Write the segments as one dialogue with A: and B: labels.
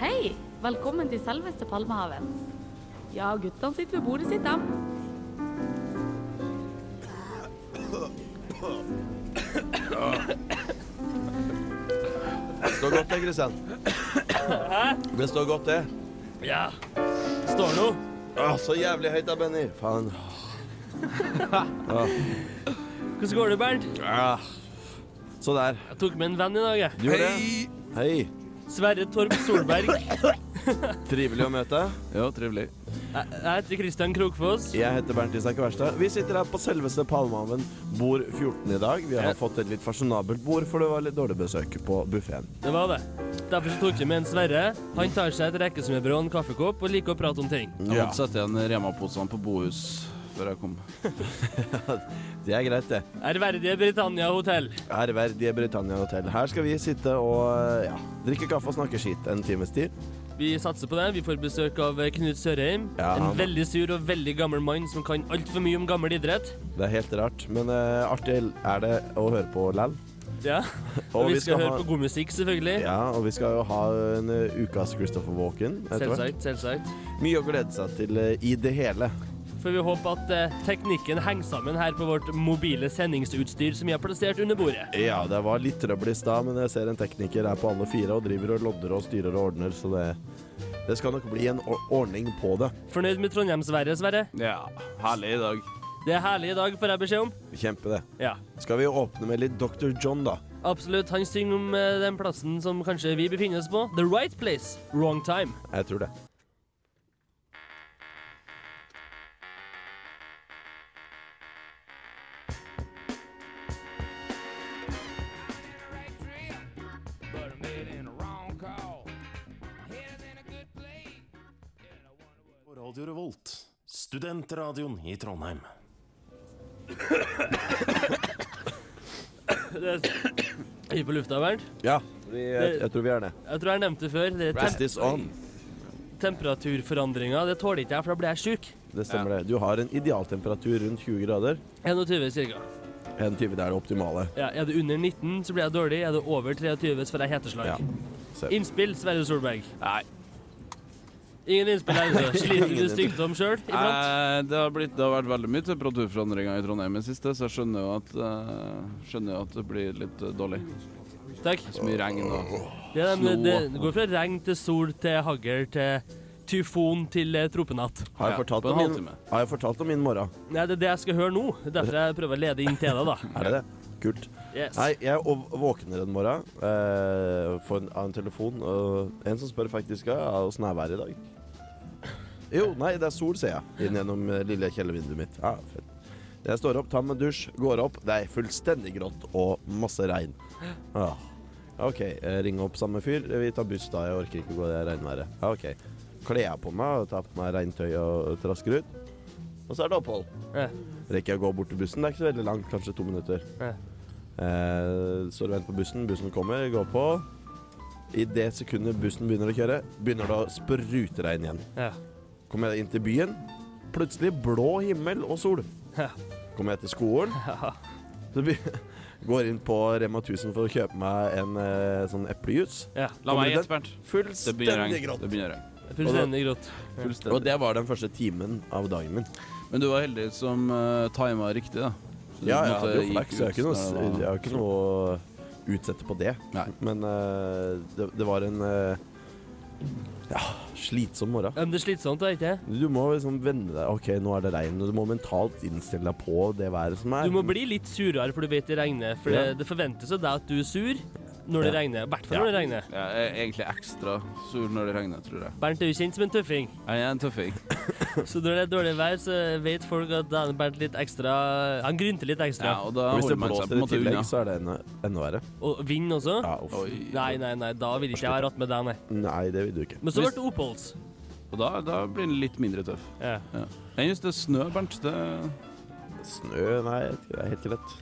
A: Hei! Velkommen til selveste Palmehaven. Ja, guttene sitter ved bordet sitt, dem.
B: Det står godt det, Kristian. Det står godt det.
C: Ja. Står nå.
B: Å, så jævlig høyt da, Benny. Faen.
C: Hvordan går det, Bernt?
B: Ah. Så der.
C: Jeg tok med en venn i dag, jeg.
B: Du gjorde det? Hei.
C: Sverre Torp Solberg. Jeg
B: Trivelig å møte.
D: Ja, trivelig.
C: jeg heter Kristian Krokfoss.
B: Jeg heter Bernt Isak Wærstad. Vi sitter her på selveste Palmehaven, bord 14 i dag. Vi har
C: Ja.
B: fått et litt fasjonabelt bord, for det var litt dårlig besøk på buffeen.
C: Det var det. Derfor så tok jeg med en Sverre. Han tar seg et rekkesmørbrød og en kaffekopp og liker å prate om ting.
D: Jeg måtte sette igjen Rema-posene på Bohus før jeg kom.
B: Det er greit, det.
C: Ærverdige Britannia hotell.
B: Ærverdige Britannia hotell. Her skal vi sitte og ja, drikke kaffe og snakke skit en times tid.
C: Vi satser på det. Vi får besøk av Knut Sørheim.
B: Ja,
C: en
B: han-
C: veldig sur og veldig gammel mann som kan altfor mye om gammel idrett.
B: Det er helt rart, men eh, artig er det å høre på lall.
C: Ja. Og vi skal høre på god musikk, selvfølgelig.
B: Ja, og vi skal jo ha en eh, ukas Christopher Walken etter hvert.
C: Selvsagt, selvsagt.
B: Mye å glede seg til eh, i det hele.
C: For vi håper at eh, teknikken henger sammen her på vårt mobile sendingsutstyr som vi har plassert under bordet.
B: Ja, det var litt trøbbel i stad, men jeg ser en tekniker er på alle fire og driver og lodder og styrer og ordner, så det, det skal nok bli en or- ordning på det.
C: Fornøyd med Trondheim-Sverre, Sverre?
D: Ja, herlig i dag.
C: Det er herlig i dag, får jeg beskjed om.
B: Kjempe det.
C: Ja.
B: Skal vi åpne med litt Dr. John, da?
C: Absolutt. Han synger om eh, den plassen som kanskje vi befinner oss på. The right place, wrong time.
B: Jeg tror det.
E: But I made in a wrong call. My head is in a good place. And I wonder what.
F: Radio Revolt, studentradioen i Trondheim.
C: Det er vi på lufta, Bernt.
B: Ja, vi, jeg, jeg tror vi er det.
C: Jeg tror jeg nevnte det før. Det er
B: Rest
C: tem
B: is on.
C: temperaturforandringer. Det tåler ikke jeg, for da blir jeg sjuk.
B: Det stemmer, det. Du har en idealtemperatur rundt 20 grader.
C: 21 cirka.
B: 21 det er det optimale.
C: Ja, er det under 19, så blir jeg dårlig. Er det over 23, så får jeg heteslag.
B: Ja. Så-
C: Innspill, Sverre Solberg.
D: Nei,
C: Ingen innspill her, altså. Sliter du
B: Ingen.
C: stykdom sjøl iblant?
D: eh, det, har blitt, det har vært veldig mye temperaturforandringer i Trondheim i det siste, så jeg skjønner jo at, eh, skjønner jo at det blir litt eh, dårlig.
C: Takk.
D: Så mye regn og
C: Det, er- men det, det går fra regn til sol til hagl til tyfon til eh, tropenatt.
B: Har jeg,
D: Ja,
B: fortalt
D: på en
B: om min,
D: halvtime.
B: har jeg fortalt om min morgen?
C: Nei, det er det jeg skal høre nå. Derfor jeg prøver å lede inn til deg, da.
B: Er det det? Kult.
C: Yes.
B: Nei, jeg ov- våkner en morgen eh, får en, av en telefon. og en som spør faktisk ja, åssen er været i dag. Jo, nei, det er sol, ser jeg. Inn gjennom eh, lille kjellervinduet mitt. Ja, fett. Jeg står opp, tar meg en dusj, går opp. Det er fullstendig grått og masse regn. Ah. OK, eh, ring opp samme fyr. Vi tar buss da, jeg orker ikke gå i det regnværet. Ja, OK. Kler jeg på meg, tar på meg regntøy og trasker ut. Og så er det opphold.
C: Ja.
B: Rekker jeg å gå bort til bussen? Det er ikke så veldig langt, kanskje to minutter.
C: Ja.
B: Eh, står og venter på bussen, bussen kommer, går på. I det sekundet bussen begynner å kjøre, begynner det å sprute regn igjen.
C: Ja.
B: Kommer jeg inn til byen, plutselig blå himmel og sol.
C: Ja.
B: Kommer jeg til skolen, så be- går inn på Rema 1000 for å kjøpe meg en eh, sånn eplejus.
C: ja.
D: La meg gjette, Bernt. Det begynner
B: Fullstendig
D: regn.
B: grått.
D: Det begynner regn.
C: Fullstendig grått.
B: Og
D: Fullstendig.
B: det var den første timen av dagen min.
D: Men du var heldig som uh, tima riktig, da. Så du
B: Ja,
D: på en
B: ja,
D: måte
B: det er jo
D: gikk
B: flaks. Jeg har ikke
D: ut
B: noe,
D: når det
B: jeg
D: var-
B: har ikke noe å utsette på det.
D: Nei.
B: Men eh, det, det var en eh, ja, slitsom morgen.
C: Ja, Men det er slitsomt, er det ikke?
B: Du må liksom venne deg OK, nå er det regn, og du må mentalt innstille deg på det været som er.
C: Du må bli litt surere, for du vet det regner. For
B: Ja.
C: det, det forventes av deg at du er sur når det
B: Ja.
C: regner. I hvert fall når det regner.
D: Ja, Jeg er egentlig ekstra sur når det regner, tror jeg.
C: Bernt er jo kjent som en tøffing.
D: Jeg er en tøffing.
C: Så når det er dårlig vær, så vet folk at da er Bernt litt ekstra Han grynter litt ekstra.
D: Ja, og da
B: Og Hvis det
D: holder man seg
B: blåser
D: på en
B: i
D: måte
B: tillegg,
D: unna.
B: så er det enda, enda verre.
C: Og vind også.
B: Ja, uff.
D: Oi.
C: Nei, nei, nei, da vil ikke jeg ha ratt med deg, nei.
B: Nei, det vil du ikke.
C: Men så ble
D: Hvis-
C: det oppholds.
D: Og da, da blir den litt mindre tøff.
C: Ja.
D: Ja. Jeg synes det er snø, Bernt. Det,
B: Snø, nei, det er helt greit.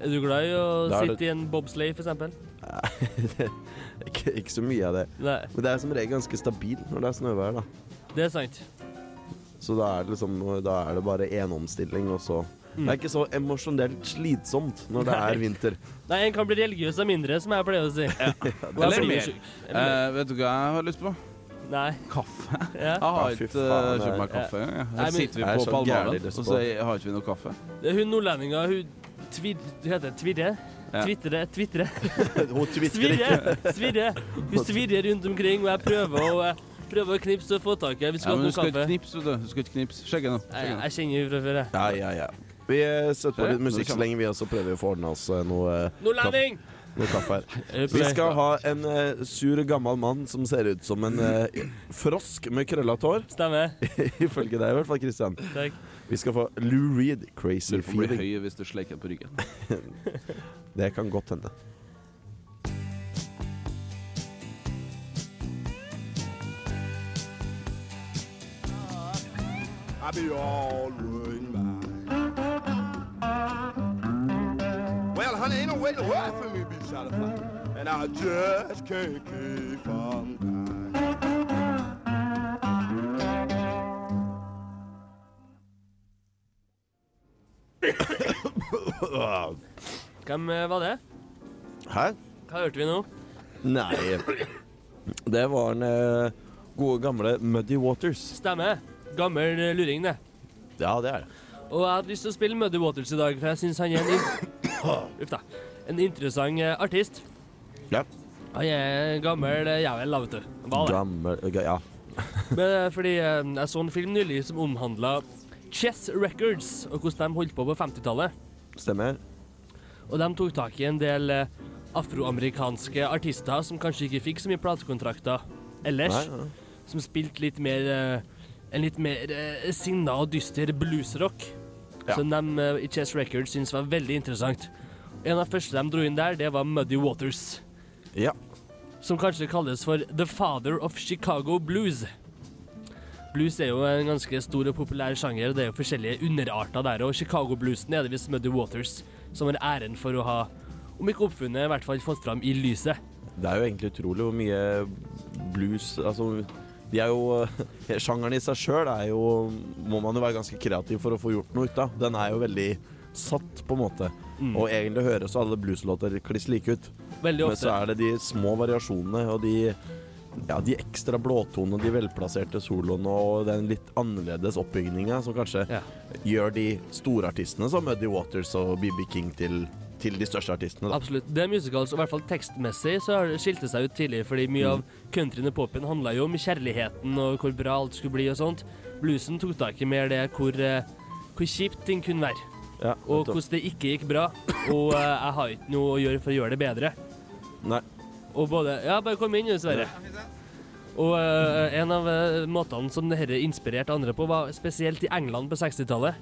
C: Er du glad i å
B: Da er
C: sitte i en bobsleigh, for eksempel?
B: Ikke, ikke så mye av det.
C: Nei,
B: Men det er som regel ganske stabilt når det er snøvær, da.
C: det er sant.
B: Så da er det, liksom, da er det bare én omstilling, og så Det er ikke så emosjonelt slitsomt når det er vinter.
C: Nei, en kan bli religiøs av mindre, som jeg pleier å si. Og jeg
D: Eller
C: blir jo
D: mer.
C: sjuk.
D: Eh, vet du hva jeg har lyst på?
C: Nei.
D: Kaffe.
C: Ja.
D: Jeg har
B: Ja, fy
D: ikke
B: faen,
D: eh,
B: det er-
D: kjøpt meg kaffe engang. jeg.
C: Nei,
D: Her
C: men-
D: sitter vi
B: Jeg er
D: på
B: så
D: Palmehaven,
B: gærlig lyst
D: og
B: på.
D: så har ikke vi noe kaffe.
C: Det er hun nordlendinga, hun tvir, Hva heter det? Tvirre?
D: Ja.
C: Tvitre? Tvitre?
B: Hun twitrer ikke.
C: Svirre! Svirre! Hun svirrer rundt omkring, og jeg prøver å, eh, prøver å knipse og få tak i henne. Vi
D: Ja,
C: skulle
D: men du
C: hatt
D: skal
C: noe
D: ikke
C: kaffe.
D: knipse, du. Du skal ikke knipse. Skjegget nå.
C: Jeg,
D: Skjegget nå.
C: jeg kjenner henne fra før, jeg.
B: Ja, ja, ja. Vi eh, setter på
D: Se,
B: litt musikk
D: nå
B: så lenge, vi også prøver å få ordna oss eh, noe, eh,
C: Nordlending!
B: noe kaffe her.
C: Er du på
B: Vi
C: vei?
B: skal ha en eh, sur, gammel mann som ser ut som en eh, frosk med krøllete hår.
C: Stemmer.
B: Ifølge deg, i hvert fall, Christian.
C: Takk.
B: Vi skal få Lou Reed, 'Crazy
D: Du får bli
B: Feeling'.
D: høy hvis du sleker på ryggen.
B: Det kan godt hende.
G: I'll be all ruined by. Well, honey, ain't no way to work for me to be satisfied. And I just can't keep on dying.
C: Hvem eh, var det?
B: Hæ?
C: Hva hørte vi nå?
B: Nei. Det var den eh, gode, gamle Muddy Waters.
C: Stemmer. Gammel eh, luring, det.
B: Ja, det er det.
C: Og jeg hadde lyst til å spille Muddy Waters i dag, for jeg syns han er en, in- Uff da. en interessant eh, artist.
B: Ja.
C: Han er en gammel eh, jævel, da, vet du. Han var det.
B: Gammel eh, Ja.
C: Men det er fordi eh, jeg så en film nylig som omhandla Chess Records og hvordan de holdt på på 50-tallet.
B: Stemmer.
C: Og de tok tak i en del eh, afroamerikanske artister som kanskje ikke fikk så mye platekontrakter ellers,
B: Nei, ja.
C: som spilte litt mer eh, en litt mer eh, sinna og dyster bluesrock,
B: Ja.
C: som de eh, i Chess Records syntes var veldig interessant. En av de første de dro inn der, det var Muddy Waters,
B: ja.
C: som kanskje kalles for The Father of Chicago Blues. Blues er jo en ganske stor og populær sjanger, og det er jo forskjellige underarter der. Og Chicago-bluesen er det visst Muddy Waters som har æren for å ha, om ikke oppfunnet, i hvert fall fått fram i lyset.
B: Det er jo egentlig utrolig hvor mye blues Altså, de er jo eh, Sjangeren i seg sjøl er jo Må man jo være ganske kreativ for å få gjort noe ut av. Den er jo veldig satt, på en måte. Og egentlig høres alle blueslåter kliss like ut.
C: Veldig
B: Men så
C: ofte.
B: er det de små variasjonene og de ja, de ekstra blåtonene, de velplasserte soloene og den litt annerledes oppbygninga som kanskje
C: Ja.
B: gjør de store artistene som Muddy Waters og BB King til, til de største artistene. Da.
C: Absolutt. Det er musicals, og i hvert fall tekstmessig så har det skilte seg ut tidlig, fordi mye
B: Mm.
C: av countryen og popen handla jo om kjærligheten og hvor bra alt skulle bli og sånt. Bluesen tok tak i mer det hvor, eh, hvor kjipt ting kunne være.
B: Ja,
C: Og
B: nettopp.
C: hvordan det ikke gikk bra. Og eh, jeg har ikke noe å gjøre for å gjøre det bedre.
B: Nei.
C: Og både Ja, bare kom inn, du, Sverre. Og eh, en av eh, måtene som dette inspirerte andre på, var spesielt i England på 60-tallet.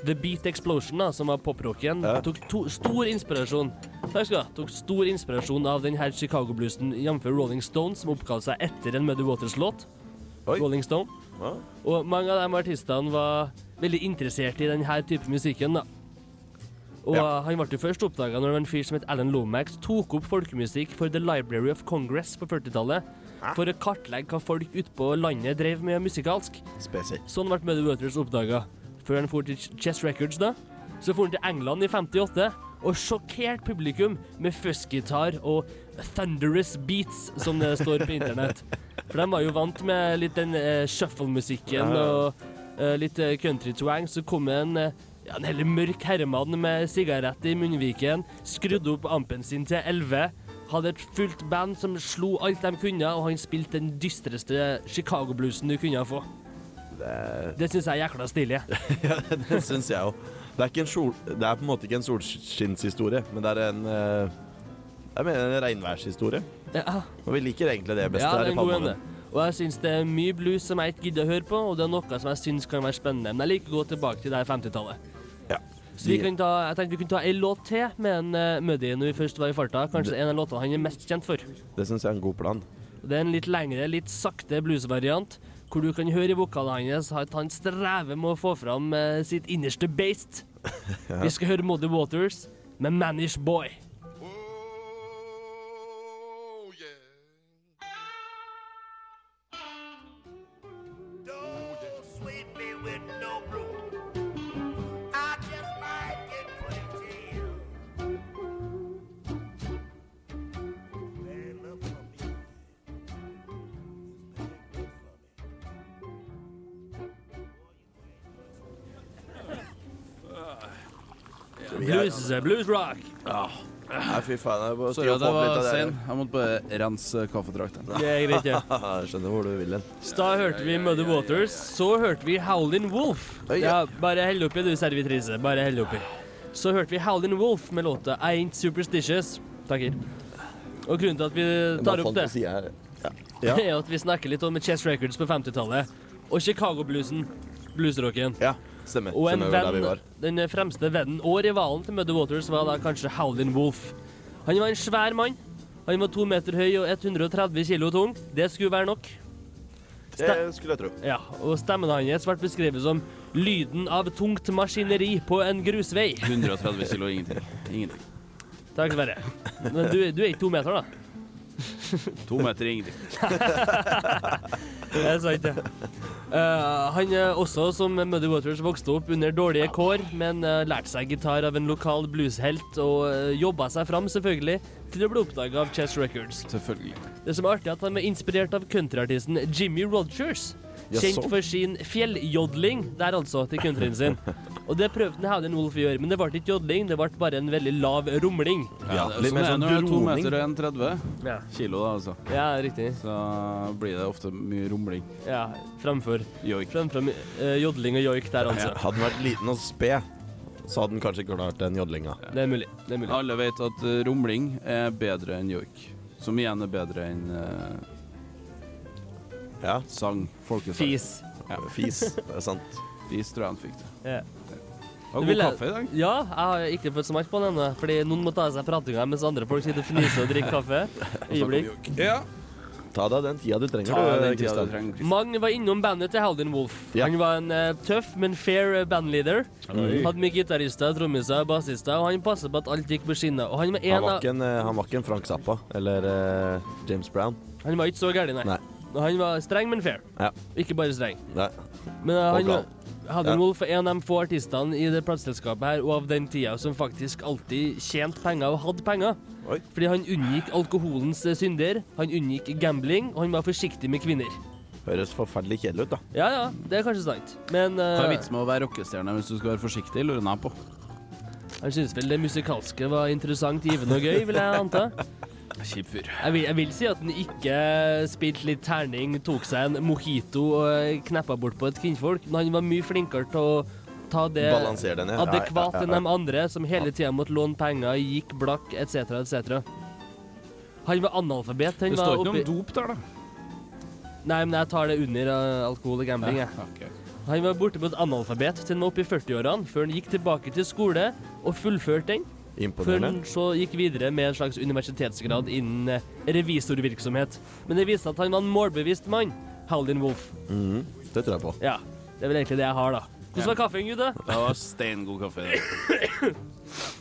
C: The Beat Explosion, da, som var poprocken,
B: Ja.
C: tok to stor inspirasjon Takk skal du ha. Tok stor inspirasjon av denne Chicago-bluesen, jf. Rolling Stone, som oppkalte seg etter en Muddy Waters-låt.
B: Oi.
C: Rolling Stone.
B: Ja.
C: Og mange av de artistene var veldig interessert i denne type musikken, da. Og
B: Ja.
C: eh, han ble jo først oppdaga når det var en fyr som het Alan Lomax tok opp folkemusikk for The Library of Congress på 40-tallet for å kartlegge hva folk ute på landet drev med musikalsk.
B: Spesielt.
C: Sånn ble Muddy Waters oppdaga. Før han for til Ch- Chess Records, da. Så for han til England i 58 og sjokkerte publikum med fuzzgitar og thunderous beats, som det står på internett. For de var jo vant med litt den eh, shuffle-musikken og eh, litt eh, country-twang. Så kom en, eh, ja, en heller mørk herremann med sigarett i munnviken, skrudde opp ampen sin til 11. Hadde et fullt band som slo alt de kunne, og han spilte den dystreste Chicago-bluesen du kunne få. Det syns jeg er jækla stilig.
B: Det syns jeg òg. Det, er ikke en sol- det er på en måte ikke en solskinnshistorie, men det er en eh, Jeg mener en regnværshistorie.
C: Ja,
B: Og vi liker egentlig det best
C: ah, ja det
B: her i
C: er en god
B: Palmehaven.
C: ende. Og jeg syns det er mye blues som jeg ikke gidder å høre på, og det er noe som jeg syns kan være spennende. Men jeg liker å gå tilbake til det her 50-tallet.
B: Ja.
C: Så vi kan ta, jeg tenkte vi kunne ta en låt til med en eh, Muddy når vi først var i farta. Kanskje en av låtene han er mest kjent for.
B: Det syns jeg er en god plan.
C: Det er en litt lengre, litt sakte bluesvariant, hvor du kan høre i vokalene hans at han strever med å få fram eh, sitt innerste beist. Vi skal høre Muddy Waters med 'Manish Boy'.
G: Oh, yeah. Oh, yeah.
H: Sweet me
B: jeg-
C: Blues, eh, blues rock.
B: Nei, fy faen. Jeg bare
D: Sorry at jeg var sen.
B: sen.
D: Jeg måtte bare rense kaffedraktene.
C: Det er greit, det.
B: Jeg skjønner hvor du vil hen.
C: Da hørte vi Muddy Waters, så hørte vi Howlin' Wolf.
B: Oi,
C: Ja,
B: ja.
C: bare hell oppi du, servitrise. Bare hell oppi. Så hørte vi Howlin' Wolf med låta I Ain't Superstitious. Takker. Og grunnen til at vi tar opp det,
B: her. Ja.
C: er at vi snakker litt om Chess Records på 50-tallet. Og Chicago-bluesen. Bluesrocken.
B: Ja, stemmer.
C: Og en
B: stemmer hvor der vi
C: venn,
B: var.
C: den fremste vennen og rivalen til Muddy Waters var da kanskje Howlin' Wolf. Han var en svær mann. Han var to meter høy og 130 kilo tung. Det skulle være nok.
B: Det skulle jeg tro.
C: Ja, og stemmen hans ble beskrevet som lyden av tungt maskineri på en grusvei.
D: 130 kilo, ingenting. Ingenting.
C: Takk, Sverre. Men du, du er ikke to meter, da?
D: To meter, ingenting.
C: Det er sant, det. Eh, han eh, også, som Muddy Waters, vokste opp under dårlige kår, men eh, lærte seg gitar av en lokal blueshelt og eh, jobba seg fram, selvfølgelig, til å bli oppdaga av Chess Records.
D: Selvfølgelig.
C: Det som er artig, er at han var inspirert av countryartisten Jimmy Rogers.
B: Ja,
C: Kjent
B: sånn.
C: for sin fjelljodling, der altså, til countryen sin. Og det prøvde Howlin' Wolf å gjøre, men det ble ikke jodling, det ble bare en veldig lav rumling.
D: Ja, det er
B: litt
D: sånn
B: mer
D: det er
B: sånn
D: når det er to
B: droning.
D: meter og 1,30
C: Ja,
D: kilo, da, altså.
C: riktig.
D: Så blir det ofte mye rumling.
C: Ja, framfor.
D: Joik.
C: Framfor eh, jodling og joik der, altså.
B: Hadde den vært liten og sped, så hadde den kanskje klart den jodlinga.
C: Det er mulig. det er mulig.
D: Alle vet at eh, rumling er bedre enn joik. Som igjen er bedre enn eh,
B: Ja.
D: sang. Folkesang.
C: Fis.
B: Fis. Det er sant.
D: Fis tror jeg han fikk det.
C: Ja.
D: Har
C: Vil
D: god
C: jeg-
D: kaffe i dag.
C: Ja, jeg har ikke fått så merke på den ennå, fordi noen må ta av seg pratinga mens andre folk sitter og fniser og drikker kaffe. Øyeblikk.
D: Ja.
B: Ta deg den tida du trenger,
D: Ta
B: du,
D: den tida du
B: Kristian.
D: trenger.
C: Magn var innom bandet til Haldin Wolf.
B: Ja.
C: Han var en eh, tøff, men fair eh, bandleader. Hadde mye gitarister, trommiser, bassister, og han passet på at alt gikk på skinner. Og han var
B: Han
C: en
B: var
C: av
B: ikke en, eh, han var ikke en Frank Zappa eller eh, James Brown.
C: Han var ikke så gæren, nei.
B: Nei.
C: Og han var streng, men fair.
B: Ja.
C: Ikke bare streng.
B: Nei.
C: Men eh, han
B: gal.
C: var Haldin
B: Ja.
C: Wolf er en av de få artistene i det plateselskapet her, og av den tida som faktisk alltid tjente penger og hadde penger.
B: Oi.
C: Fordi han unngikk alkoholens eh, synder, han unngikk gambling, og han var forsiktig med kvinner.
B: Høres forferdelig kjedelig ut, da.
C: Ja ja, det er kanskje sant, men
D: Hva er
C: eh,
D: vitsen med å være rockestjerne hvis du skal være forsiktig? Lurer jeg på.
C: Han syntes vel det musikalske var interessant, givende og gøy, vil jeg anta.
D: Kjip fyr.
C: Jeg vil, jeg vil si at han ikke spilte litt terning, tok seg en mojito og kneppa bort på et kvinnfolk, men han var mye flinkere til å ta det
B: Balanser den, ja.
C: adekvat
B: Ja, ja,
C: enn
B: ja, ja.
C: de andre, som hele tida måtte låne penger, gikk blakk etc., etc. Han var analfabet. Han
D: Det står
C: var
D: ikke noe om
C: oppi...
D: dop der, da.
C: Nei, men jeg tar det under eh, alkohol og gambling, jeg.
D: Ok.
C: Han var bortimot analfabet til han var oppe i 40-årene, før han gikk tilbake til skole og fullførte den. Før han
B: Imponerende.
C: så gikk videre med en slags universitetsgrad innen eh, revisorvirksomhet. Men det viste at han var en målbevisst mann. Haldin Wolf.
B: Det tror jeg på.
C: Ja, det er vel egentlig det jeg har, da. Hvordan var kaffen, gutta?
D: Det var steingod kaffe. i dag.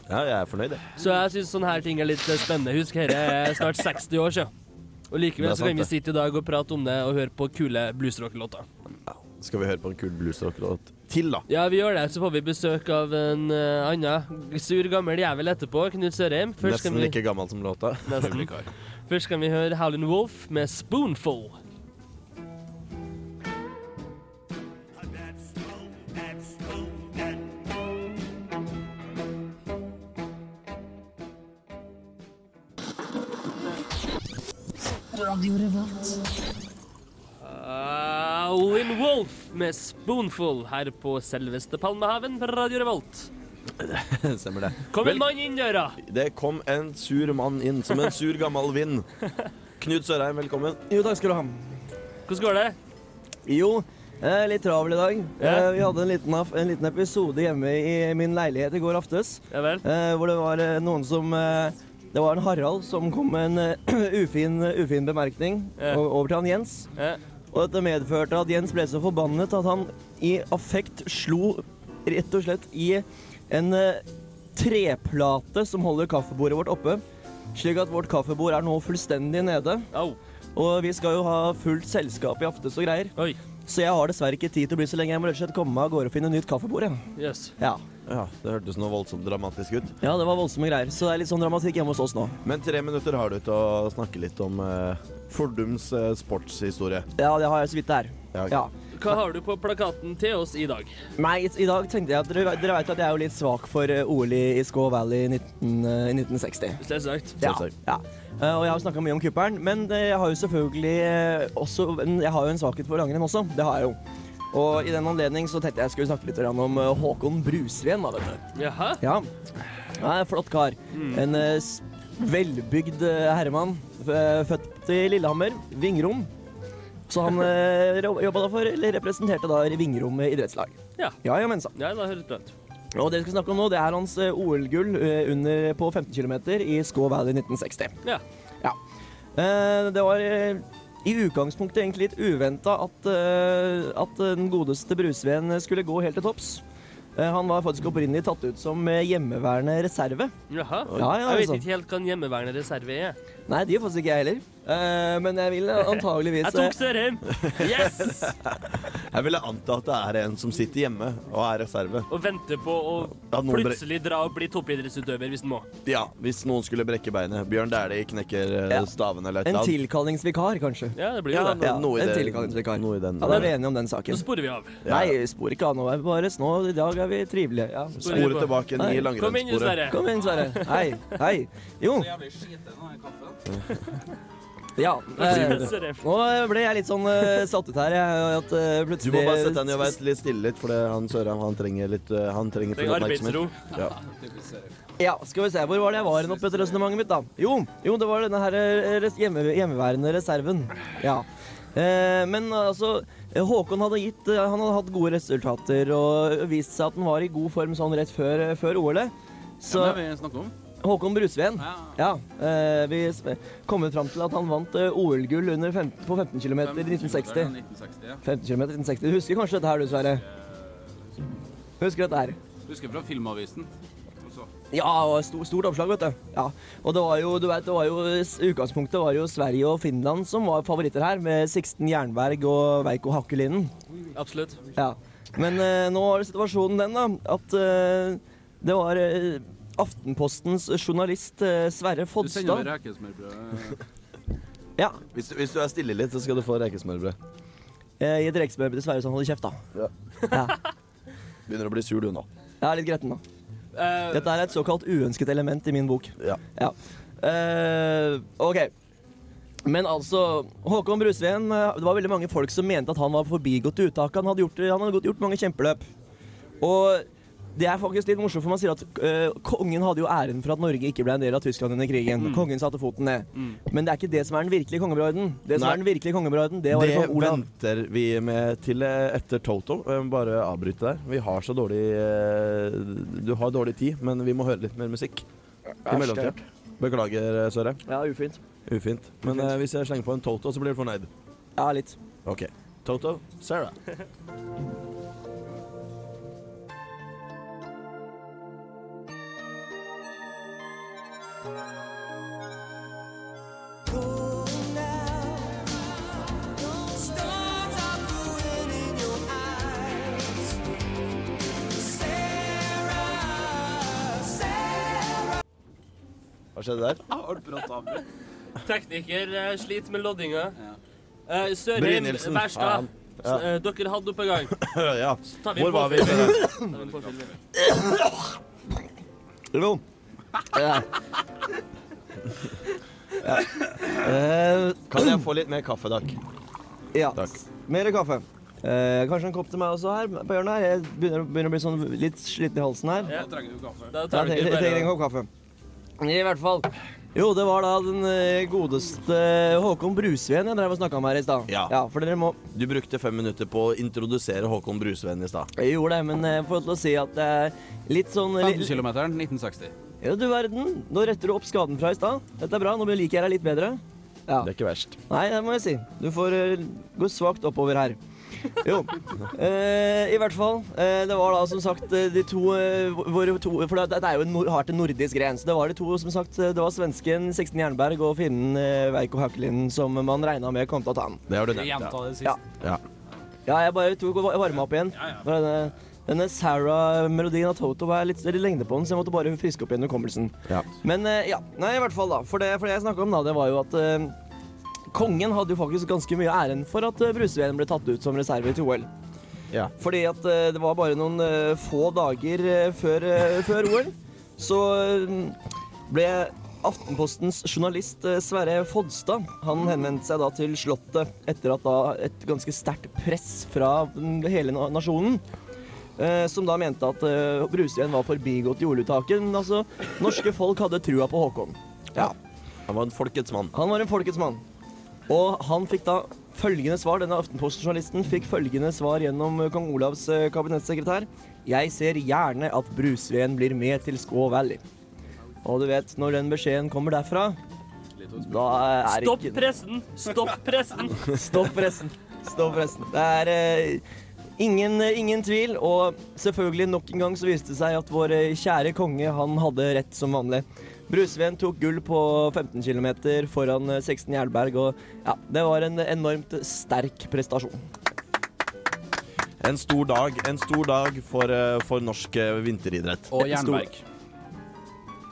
B: Ja, jeg er fornøyd, jeg.
C: Så jeg syns sånne her ting er litt eh, spennende. Husk, dette er snart 60 år siden. Og likevel
B: Det er
C: så
B: sant,
C: kan vi
B: det.
C: sitte i dag og prate om det og høre på kule bluesrock-låter.
B: Skal vi høre på en kul bluesrock-låt til, da?
C: Ja, vi gjør det. Så får vi besøk av en eh, annen sur, gammel jævel etterpå, Knut Sørheim. Først skal
B: Nesten
C: vi-
B: like gammel som låta.
C: Nesten. Først kan vi høre Howlin' Wolf med 'Spoonful'. Howlin' Wolf med 'Spoonful' her på selveste Palmehaven på Radio Revolt.
B: Stemmer det.
C: Kom en
B: Vel-
C: mann inn døra!
B: Det kom en sur mann inn, som en sur gammel vind. Knut Sørheim, velkommen.
H: Jo, takk skal du ha.
C: Hvordan går det?
H: Jo, eh, litt travel i dag.
C: Ja.
H: Eh, vi hadde en liten, af- en liten episode hjemme i min leilighet i går aftes,
C: Ja vel?
H: eh, hvor det var eh, noen som eh, Det var en Harald som kom med en eh, ufin, ufin bemerkning
C: Ja.
H: o- over til han Jens.
C: Ja.
H: Og dette medførte at Jens ble så forbannet at han i affekt slo rett og slett i en eh, treplate som holder kaffebordet vårt oppe. Slik at vårt kaffebord er nå fullstendig nede.
C: Au.
H: Og vi skal jo ha fullt selskap i aftes og greier.
C: Oi.
H: Så jeg har dessverre ikke tid til å bli så lenge. Jeg må rett og slett komme meg av gårde og finne nytt kaffebord. jeg.
C: Jøss.
H: Ja.
B: Ja, Det hørtes noe voldsomt dramatisk ut.
H: ja, det var voldsomme greier. Så det er litt sånn dramatikk hjemme hos oss nå.
B: Men tre minutter har du til å snakke litt om eh, fordums eh, sportshistorie.
H: Ja, det har jeg så vidt det er.
B: Ja, ok.
H: Ja.
C: Hva har du på plakaten til oss i dag?
H: Nei, i- i dag tenkte jeg at dere, dere vet at jeg er jo litt svak for eh, OL i i Skaw Valley i 19, eh, i 1960.
C: Selvsagt.
H: Ja,
B: Selvsagt.
H: ja. Eh, Og jeg har snakka mye om kuppelen, men eh, jeg har jo selvfølgelig eh, også en- Jeg har jo en svakhet for langrenn også. Det har jeg jo. Og i den anledning så tenkte jeg skulle snakke litt grann om eh, Håkon Brusveen, da, vet du.
C: Jaha.
H: Ja. Nei, flott kar. En eh, s- velbygd eh, herremann. F- eh, Født i Lillehammer. Vingrom. Så han eh, ro- jobba da for, eller representerte da Vingrom idrettslag.
C: Ja.
H: Ja, ja, men sa.
C: Ja, da høres bra ut.
H: Og det vi skal snakke om nå, det er hans eh, OL-gull eh, under på 15 km i Skaw Valley 1960.
C: Ja.
H: Ja. Eh, det var eh, i utgangspunktet egentlig litt uventa at, eh, at den godeste Brusveen skulle gå helt til topps. Eh, han var faktisk opprinnelig tatt ut som eh, hjemmeværende reserve.
C: Jaha.
H: Ja, ja,
C: jeg vet
H: altså.
C: ikke helt hva en hjemmeværende reserve er.
H: Nei, det gjør faktisk ikke jeg heller. Eh, men jeg vil antageligvis eh,
C: Jeg tok Sørheim! Yes!
B: Jeg ville anta at det er en som sitter hjemme og er reserve.
C: Og venter på å
B: Ja, noen bre-
C: plutselig dra og bli toppidrettsutøver hvis en må.
B: Ja, hvis noen skulle brekke beinet. Bjørn Dæhlie knekker eh,
H: Ja.
B: staven eller et
H: en
B: eller annet.
H: tilkallingsvikar, kanskje.
C: Ja, det blir jo
B: Ja,
C: det.
H: Ja,
B: noe i
H: en
B: det-
H: tilkallingsvikar.
B: noe i den-
H: Ja, da er vi enige om den saken.
C: Så sporer vi av.
B: Ja.
H: Nei, spor ikke av nå. er vi Bare snå. I dag er vi trivelige. Ja.
B: Sporet tilbake inn i
H: Nei.
C: Kom inn, du,
B: langrennssporet.
C: Sverre.
H: Kom inn, Sverre. Hei. Hei. Jo. Ja. eh,
C: Sørheim.
H: Nå ble jeg litt sånn eh, satt ut her. Jeg, at eh,
B: Du
H: plutselig
B: må bare sette deg ned og være litt stille litt, for det, han Sørheim han trenger litt eh, Han trenger
C: Det er
B: full
C: arbeidsro.
B: oppmerksomhet. Ja.
H: Ja, skal vi se. Hvor var det jeg var hen oppi etter resonnementet mitt, da? Jo, jo, det var denne her eh, res- hjemme, hjemmeværende reserven. Ja. Eh, men altså, eh, Håkon hadde gitt eh, Han hadde hatt gode resultater og vist seg at han var i god form sånn rett før, før OL-et. Så
D: Ja, det vil jeg snakke om.
H: Håkon Brusveen.
D: Ja.
H: Ja, eh, vi sp- kommer fram til at han vant eh, OL-gull under fem, på 15 km i 1960.
D: 1960, ja.
H: 15 km i 1960. Du husker kanskje dette her, du, Sverre? Husker dette her?
D: Husker fra Filmavisen. Og så-
H: Ja, og stor, stort oppslag, vet du. Ja. Og det var jo, du vet, det var jo, s- utgangspunktet var jo Sverige og Finland som var favoritter her, med Sixten Jernberg og Veiko Hakkelinen.
C: Absolutt.
H: Ja. Men eh, nå var det situasjonen den, da, at eh, det var eh, Aftenpostens journalist eh, Sverre
D: Du sender meg
H: Fodstad
D: rekesmørbrød.
H: ja,
B: Hvis, du, hvis du er stille litt, så skal du få rekesmørbrød.
H: eh, i et rekesmørbrød til Sverre som holder kjeft, da.
B: Begynner å bli sur du nå.
H: Jeg er litt gretten, da.
C: Eh,
H: Dette er et såkalt uønsket element i min bok.
B: Ja.
H: Ja. Eh, OK. Men altså, Håkon Brusveen eh, Det var veldig mange folk som mente at han var forbigått i uttaket. Han hadde gjort, han hadde gått- gjort mange kjempeløp. Og det er faktisk litt morsomt, for man sier at eh, kongen hadde jo æren for at Norge ikke ble en del av Tyskland under krigen. Kongen satte foten ned. Men det er ikke det som er den virkelige kongebroiden. Det som
B: Nei.
H: er den virkelige kongebroiden, det var
B: Det
H: det Olav.
B: venter vi med til eh, etter Toto. Jeg må bare avbryte der. Vi har så dårlig eh, Du har dårlig tid, men vi må høre litt mer musikk. I mellomtida. Beklager, eh, Søre.
H: Ja, ufint.
B: Ufint. Men
H: Ufint.
B: eh, hvis jeg slenger på en Toto, så blir du fornøyd.
H: Ja, litt.
B: OK. Toto, Sarah. Hva skjedde der?
D: Hardt brått avbrutt.
C: tekniker eh, sliter med loddinga.
D: Ja.
C: Eh, Sørheim,
B: Brynildsen.
C: Wærstad,
B: Ja.
C: s- eh, dere hadde oppe en gang.
B: ja.
C: tar vi
B: Hvor
C: en
B: var vi?
C: påfyll.
B: Søre?
C: Ta en påfyll.
H: Jo. Ja. ja. Eh,
B: Kan jeg få litt mer kaffe, takk?
H: Ja.
B: Takk.
H: Mer kaffe. Eh, kanskje en kopp til meg også her på hjørnet her. Jeg begynner, begynner å bli sånn litt sliten i halsen her.
D: Da trenger du kaffe.
C: Da
H: Jeg
C: tar
H: trenger,
C: dere
H: jeg trenger en
C: bare
H: kopp kaffe. I hvert fall. Jo, det var da den eh, godeste Håkon Brusveen jeg drev og snakka om her i stad.
B: Ja.
H: for dere må
B: Du brukte fem minutter på å introdusere Håkon Brusveen i stad.
H: Jeg gjorde det, men jeg får lov til å si at det er litt sånn
D: 15
H: litt,
D: km, 1960.
H: Ja, du verden. Nå retter du opp skaden fra i stad. Dette er bra. Nå liker jeg deg litt bedre. Ja.
B: Det er ikke verst.
H: Nei, det må jeg si. Du får eh, gå svakt oppover her. Jo. Eh, I hvert fall. Eh, det var da som sagt eh, de to eh, våre to For det, det er jo en, nor- har vært en nordisk gren. Så det var de to, som sagt. eh, Det var svensken Sixten Jernberg og finnen eh, Veiko Haukelin som man regna med kom til å ta han.
B: Det har du nevnt,
C: det
H: Ja.
B: ja. ja.
H: Ja, jeg bare tok og var- varma opp igjen. For denne, denne Sarah-melodien av Toto var litt litt lengde på den, så jeg måtte bare friske opp igjen hukommelsen.
B: Ja.
H: Men eh, ja. Nei, i hvert fall, da. For det, for det jeg snakka om, da, det var jo at eh, Kongen hadde jo faktisk ganske mye æren for at eh, Bruse-VM ble tatt ut som reserve til OL.
B: Ja.
H: Fordi at eh, det var bare noen eh, få dager eh, før, eh, før OL, så eh, ble Aftenpostens journalist eh, Sverre Fodstad Han henvendte seg da til Slottet etter at da et ganske sterkt press fra den- hele na- nasjonen. eh, Som da mente at eh, Brustien var forbigått i ordtaket. Men altså, norske folk hadde trua på Håkon. Ja.
B: Han var en folkets mann.
H: Han var en folkets mann. Og han fikk da følgende svar. Denne Aftenposten-journalisten fikk følgende svar gjennom eh, kong Olavs eh, kabinettssekretær. Jeg ser gjerne at Brusveen blir med til Skå Valley. Og du vet, når den beskjeden kommer derfra, da eh, er
C: Stopp
H: ikke
C: pressen! Stopp pressen!
H: Stopp pressen. Stopp pressen. Det er eh, ingen, ingen tvil, og selvfølgelig nok en gang så viste det seg at vår eh, kjære konge, han hadde rett som vanlig. Brusveen tok gull på 15 km foran eh, 16 Jernberg, og ja, det var en enormt sterk prestasjon.
B: En stor dag en stor dag for, eh, for norsk eh, vinteridrett.
D: Og Jernberg.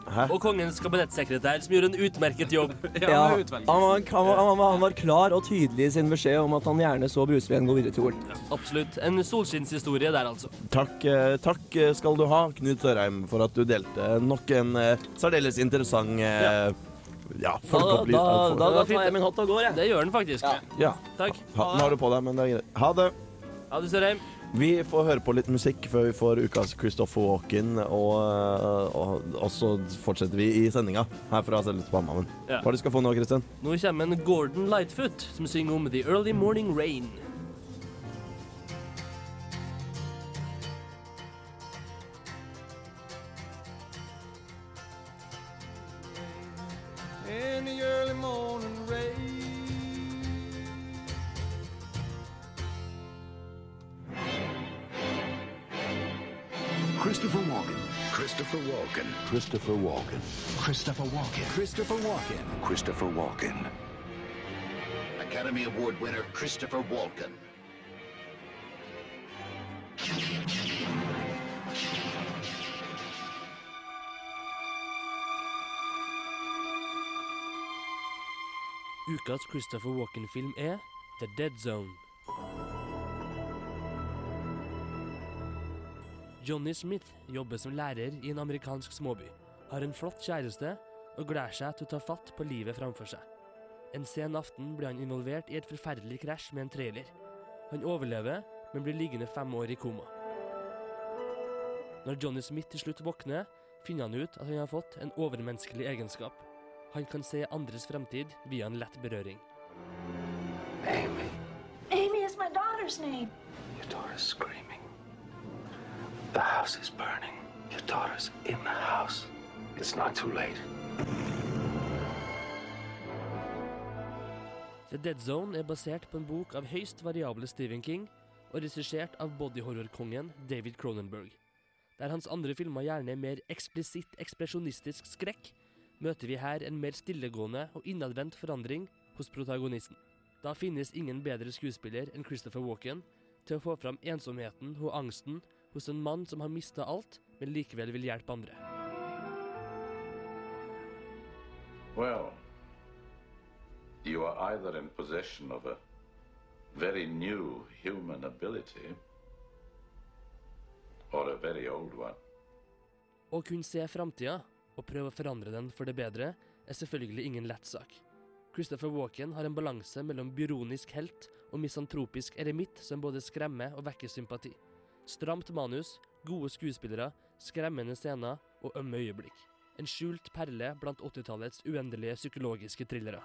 B: Hæ?
C: Og kongens kabinettssekretær, som gjorde en utmerket jobb.
H: Ja, han, var, han, var, han, var, han var klar og tydelig i sin beskjed om at han gjerne så Brusveen gå videre til OL.
C: Absolutt. En solskinnshistorie der, altså.
B: Takk, eh, takk eh, skal du ha, Knut Sørheim, for at du delte nok en eh, særdeles interessant eh, Ja,
H: Da,
B: folkeopply-
H: da,
B: eh, folk-
H: da, da tar jeg min hatt og går, jeg.
C: Det gjør den faktisk.
B: Ja.
C: Takk.
B: Hatten har du på deg, men det er greit. Ha det.
C: Ha det, Sørheim.
B: Vi får høre på litt musikk før vi får ukas Christopher Walken, og, eh, og, og så fortsetter vi i sendinga her fra Selveste Palmehaven.
C: Ja.
B: Hva er det du skal få nå, Kristin?
C: Nå kommer en Gordon Lightfoot, som synger om The Early Morning Rain.
E: in the early morning rain.
I: Christopher Walken. Christopher Walken. Christopher Walken. Christopher Walken. Christopher Walken. Christopher Walken. Academy Award winner Christopher Walken.
C: Ukas Christopher Walken-film er The Dead Zone. Johnny Smith jobber som lærer i en amerikansk småby, har en flott kjæreste og gleder seg til å ta fatt på livet framfor seg. En sen aften blir han involvert i et forferdelig krasj med en trailer. Han overlever, men blir liggende fem år i koma. Når Johnny Smith til slutt våkner, finner han ut at han har fått en overmenneskelig egenskap. Han kan se andres fremtid via en lett berøring.
I: Amy,
J: Amy is my daughter's name.
I: your daughter's screaming. The house is burning. Your daughter's in the house. It's not too late.
C: The Dead Zone er basert på en bok av høyst variable Stephen King og regissert av bodyhorrorkongen David Cronenberg. Der hans andre filmer gjerne er mer eksplisitt ekspresjonistisk skrekk, møter vi her en mer stillegående og innadvendt forandring hos protagonisten. Da finnes ingen bedre skuespiller enn Christopher Walken til å få fram ensomheten og angsten hos en mann som har mista alt, men likevel vil hjelpe andre.
I: Well, you are either in possession of a very new human ability or a very old one.
C: Å kunne se framtida og prøve å forandre den for det bedre er selvfølgelig ingen lett sak. Christopher Walken har en balanse mellom byronisk helt og misantropisk eremitt som både skremmer og vekker sympati. Stramt manus, gode skuespillere, skremmende scener og ømme øyeblikk. En skjult perle blant 80-tallets uendelige psykologiske thrillere.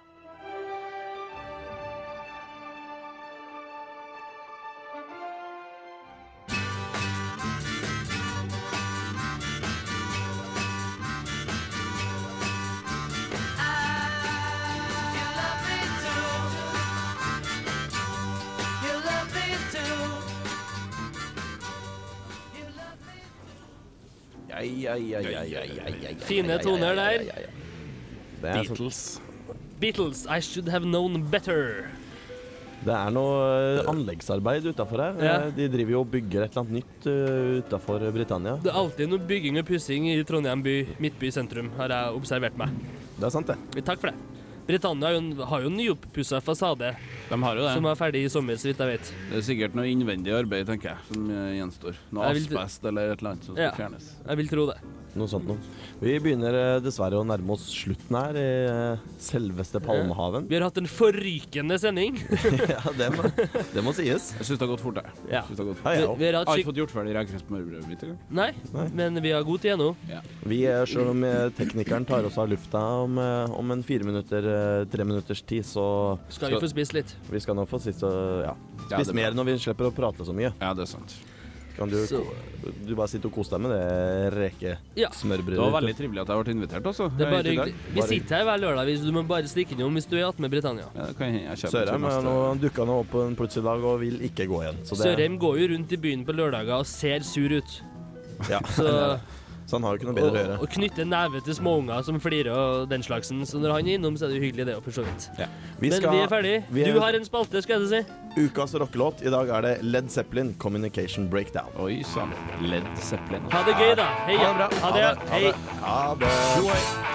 C: Fine toner der.
B: Det er, sånn-
C: Beatles, I should have known better.
B: det er noe eh, anleggsarbeid utafor her.
C: Ja.
B: Eh, De driver jo og bygger et eller annet nytt utafor Britannia.
C: Det er alltid noe bygging og pussing i Trondheim by, Midtby sentrum, har jeg observert meg.
B: Det er sant, det.
C: Takk for det. Britannia har jo en- har jo en nyoppussa fasade
D: De har jo det.
C: som er ferdig i sommer, så vidt jeg vet.
D: Det er sikkert noe innvendig arbeid, tenker jeg, som eh, gjenstår. Noe
C: Jeg vil-
D: asbest eller et eller annet som skal
C: Ja,
D: fjernes.
C: jeg vil tro det.
B: Noe sånt noe. Vi begynner eh, dessverre å nærme oss slutten her i eh, selveste Palmehaven.
C: Vi har hatt en forrykende sending.
B: ja, det må, det må sies.
D: Jeg syns det har gått fort, jeg.
C: Ja.
D: Synes det har gått fort.
B: Ja, ja.
C: Vi- vi har
D: Jeg
C: hatt
D: har
C: skikk-
D: ikke fått gjort ferdig regnskapet på smørbrødet mitt engang.
C: Nei, men vi har god tid ennå.
B: Vi, eh, selv om eh, teknikeren tar oss av lufta om, eh, om en fire minutter, eh, tre minutters tid, så
C: Skal vi få spist litt?
B: Vi skal nå få sitte og ja,
D: Ja,
B: spise
D: det er
B: mer når vi slipper å prate så mye.
D: Ja, det er sant.
B: Kan du,
C: Så-
B: du bare sitte og kose deg med det reke
C: Ja.
B: smørbrødet
D: Det
B: ditt.
D: var veldig trivelig at jeg ble invitert, altså.
C: Det er
D: Jeg
C: bare
D: gikk i dag.
C: hyggelig. Vi
B: Bare
C: sitter her hver lørdag, hvis du må bare stikke innom hvis du er attmed Britannia.
D: Ja, det kan jeg, jeg kjøper
B: Sørheim
D: til
B: er
D: neste-
B: nå dukka nå opp på en plutselig dag og vil ikke gå igjen. Så, det,
C: Sørheim går jo rundt i byen på lørdager og ser sur ut.
B: Ja.
C: Så,
B: så han har jo ikke noe
C: og,
B: bedre å gjøre.
C: og knytter neve til småunger som flirer og den slagsen. Så når han er innom, så er det jo hyggelig, det òg, for så vidt.
B: Vi
C: Men vi er ferdig.
B: vi er-
C: Du har en spalte, skal jeg si.
B: Ukas rockelåt. I dag er det Led Zeppelin, 'Communication Breakdown'.
D: Oi sann. Ledd Zeppelin.
C: Ha det gøy, da. Heia.
B: Ha det bra.
C: Ha det.
B: Ha det.
C: Hei.
B: Ha det.
D: Jo, hei.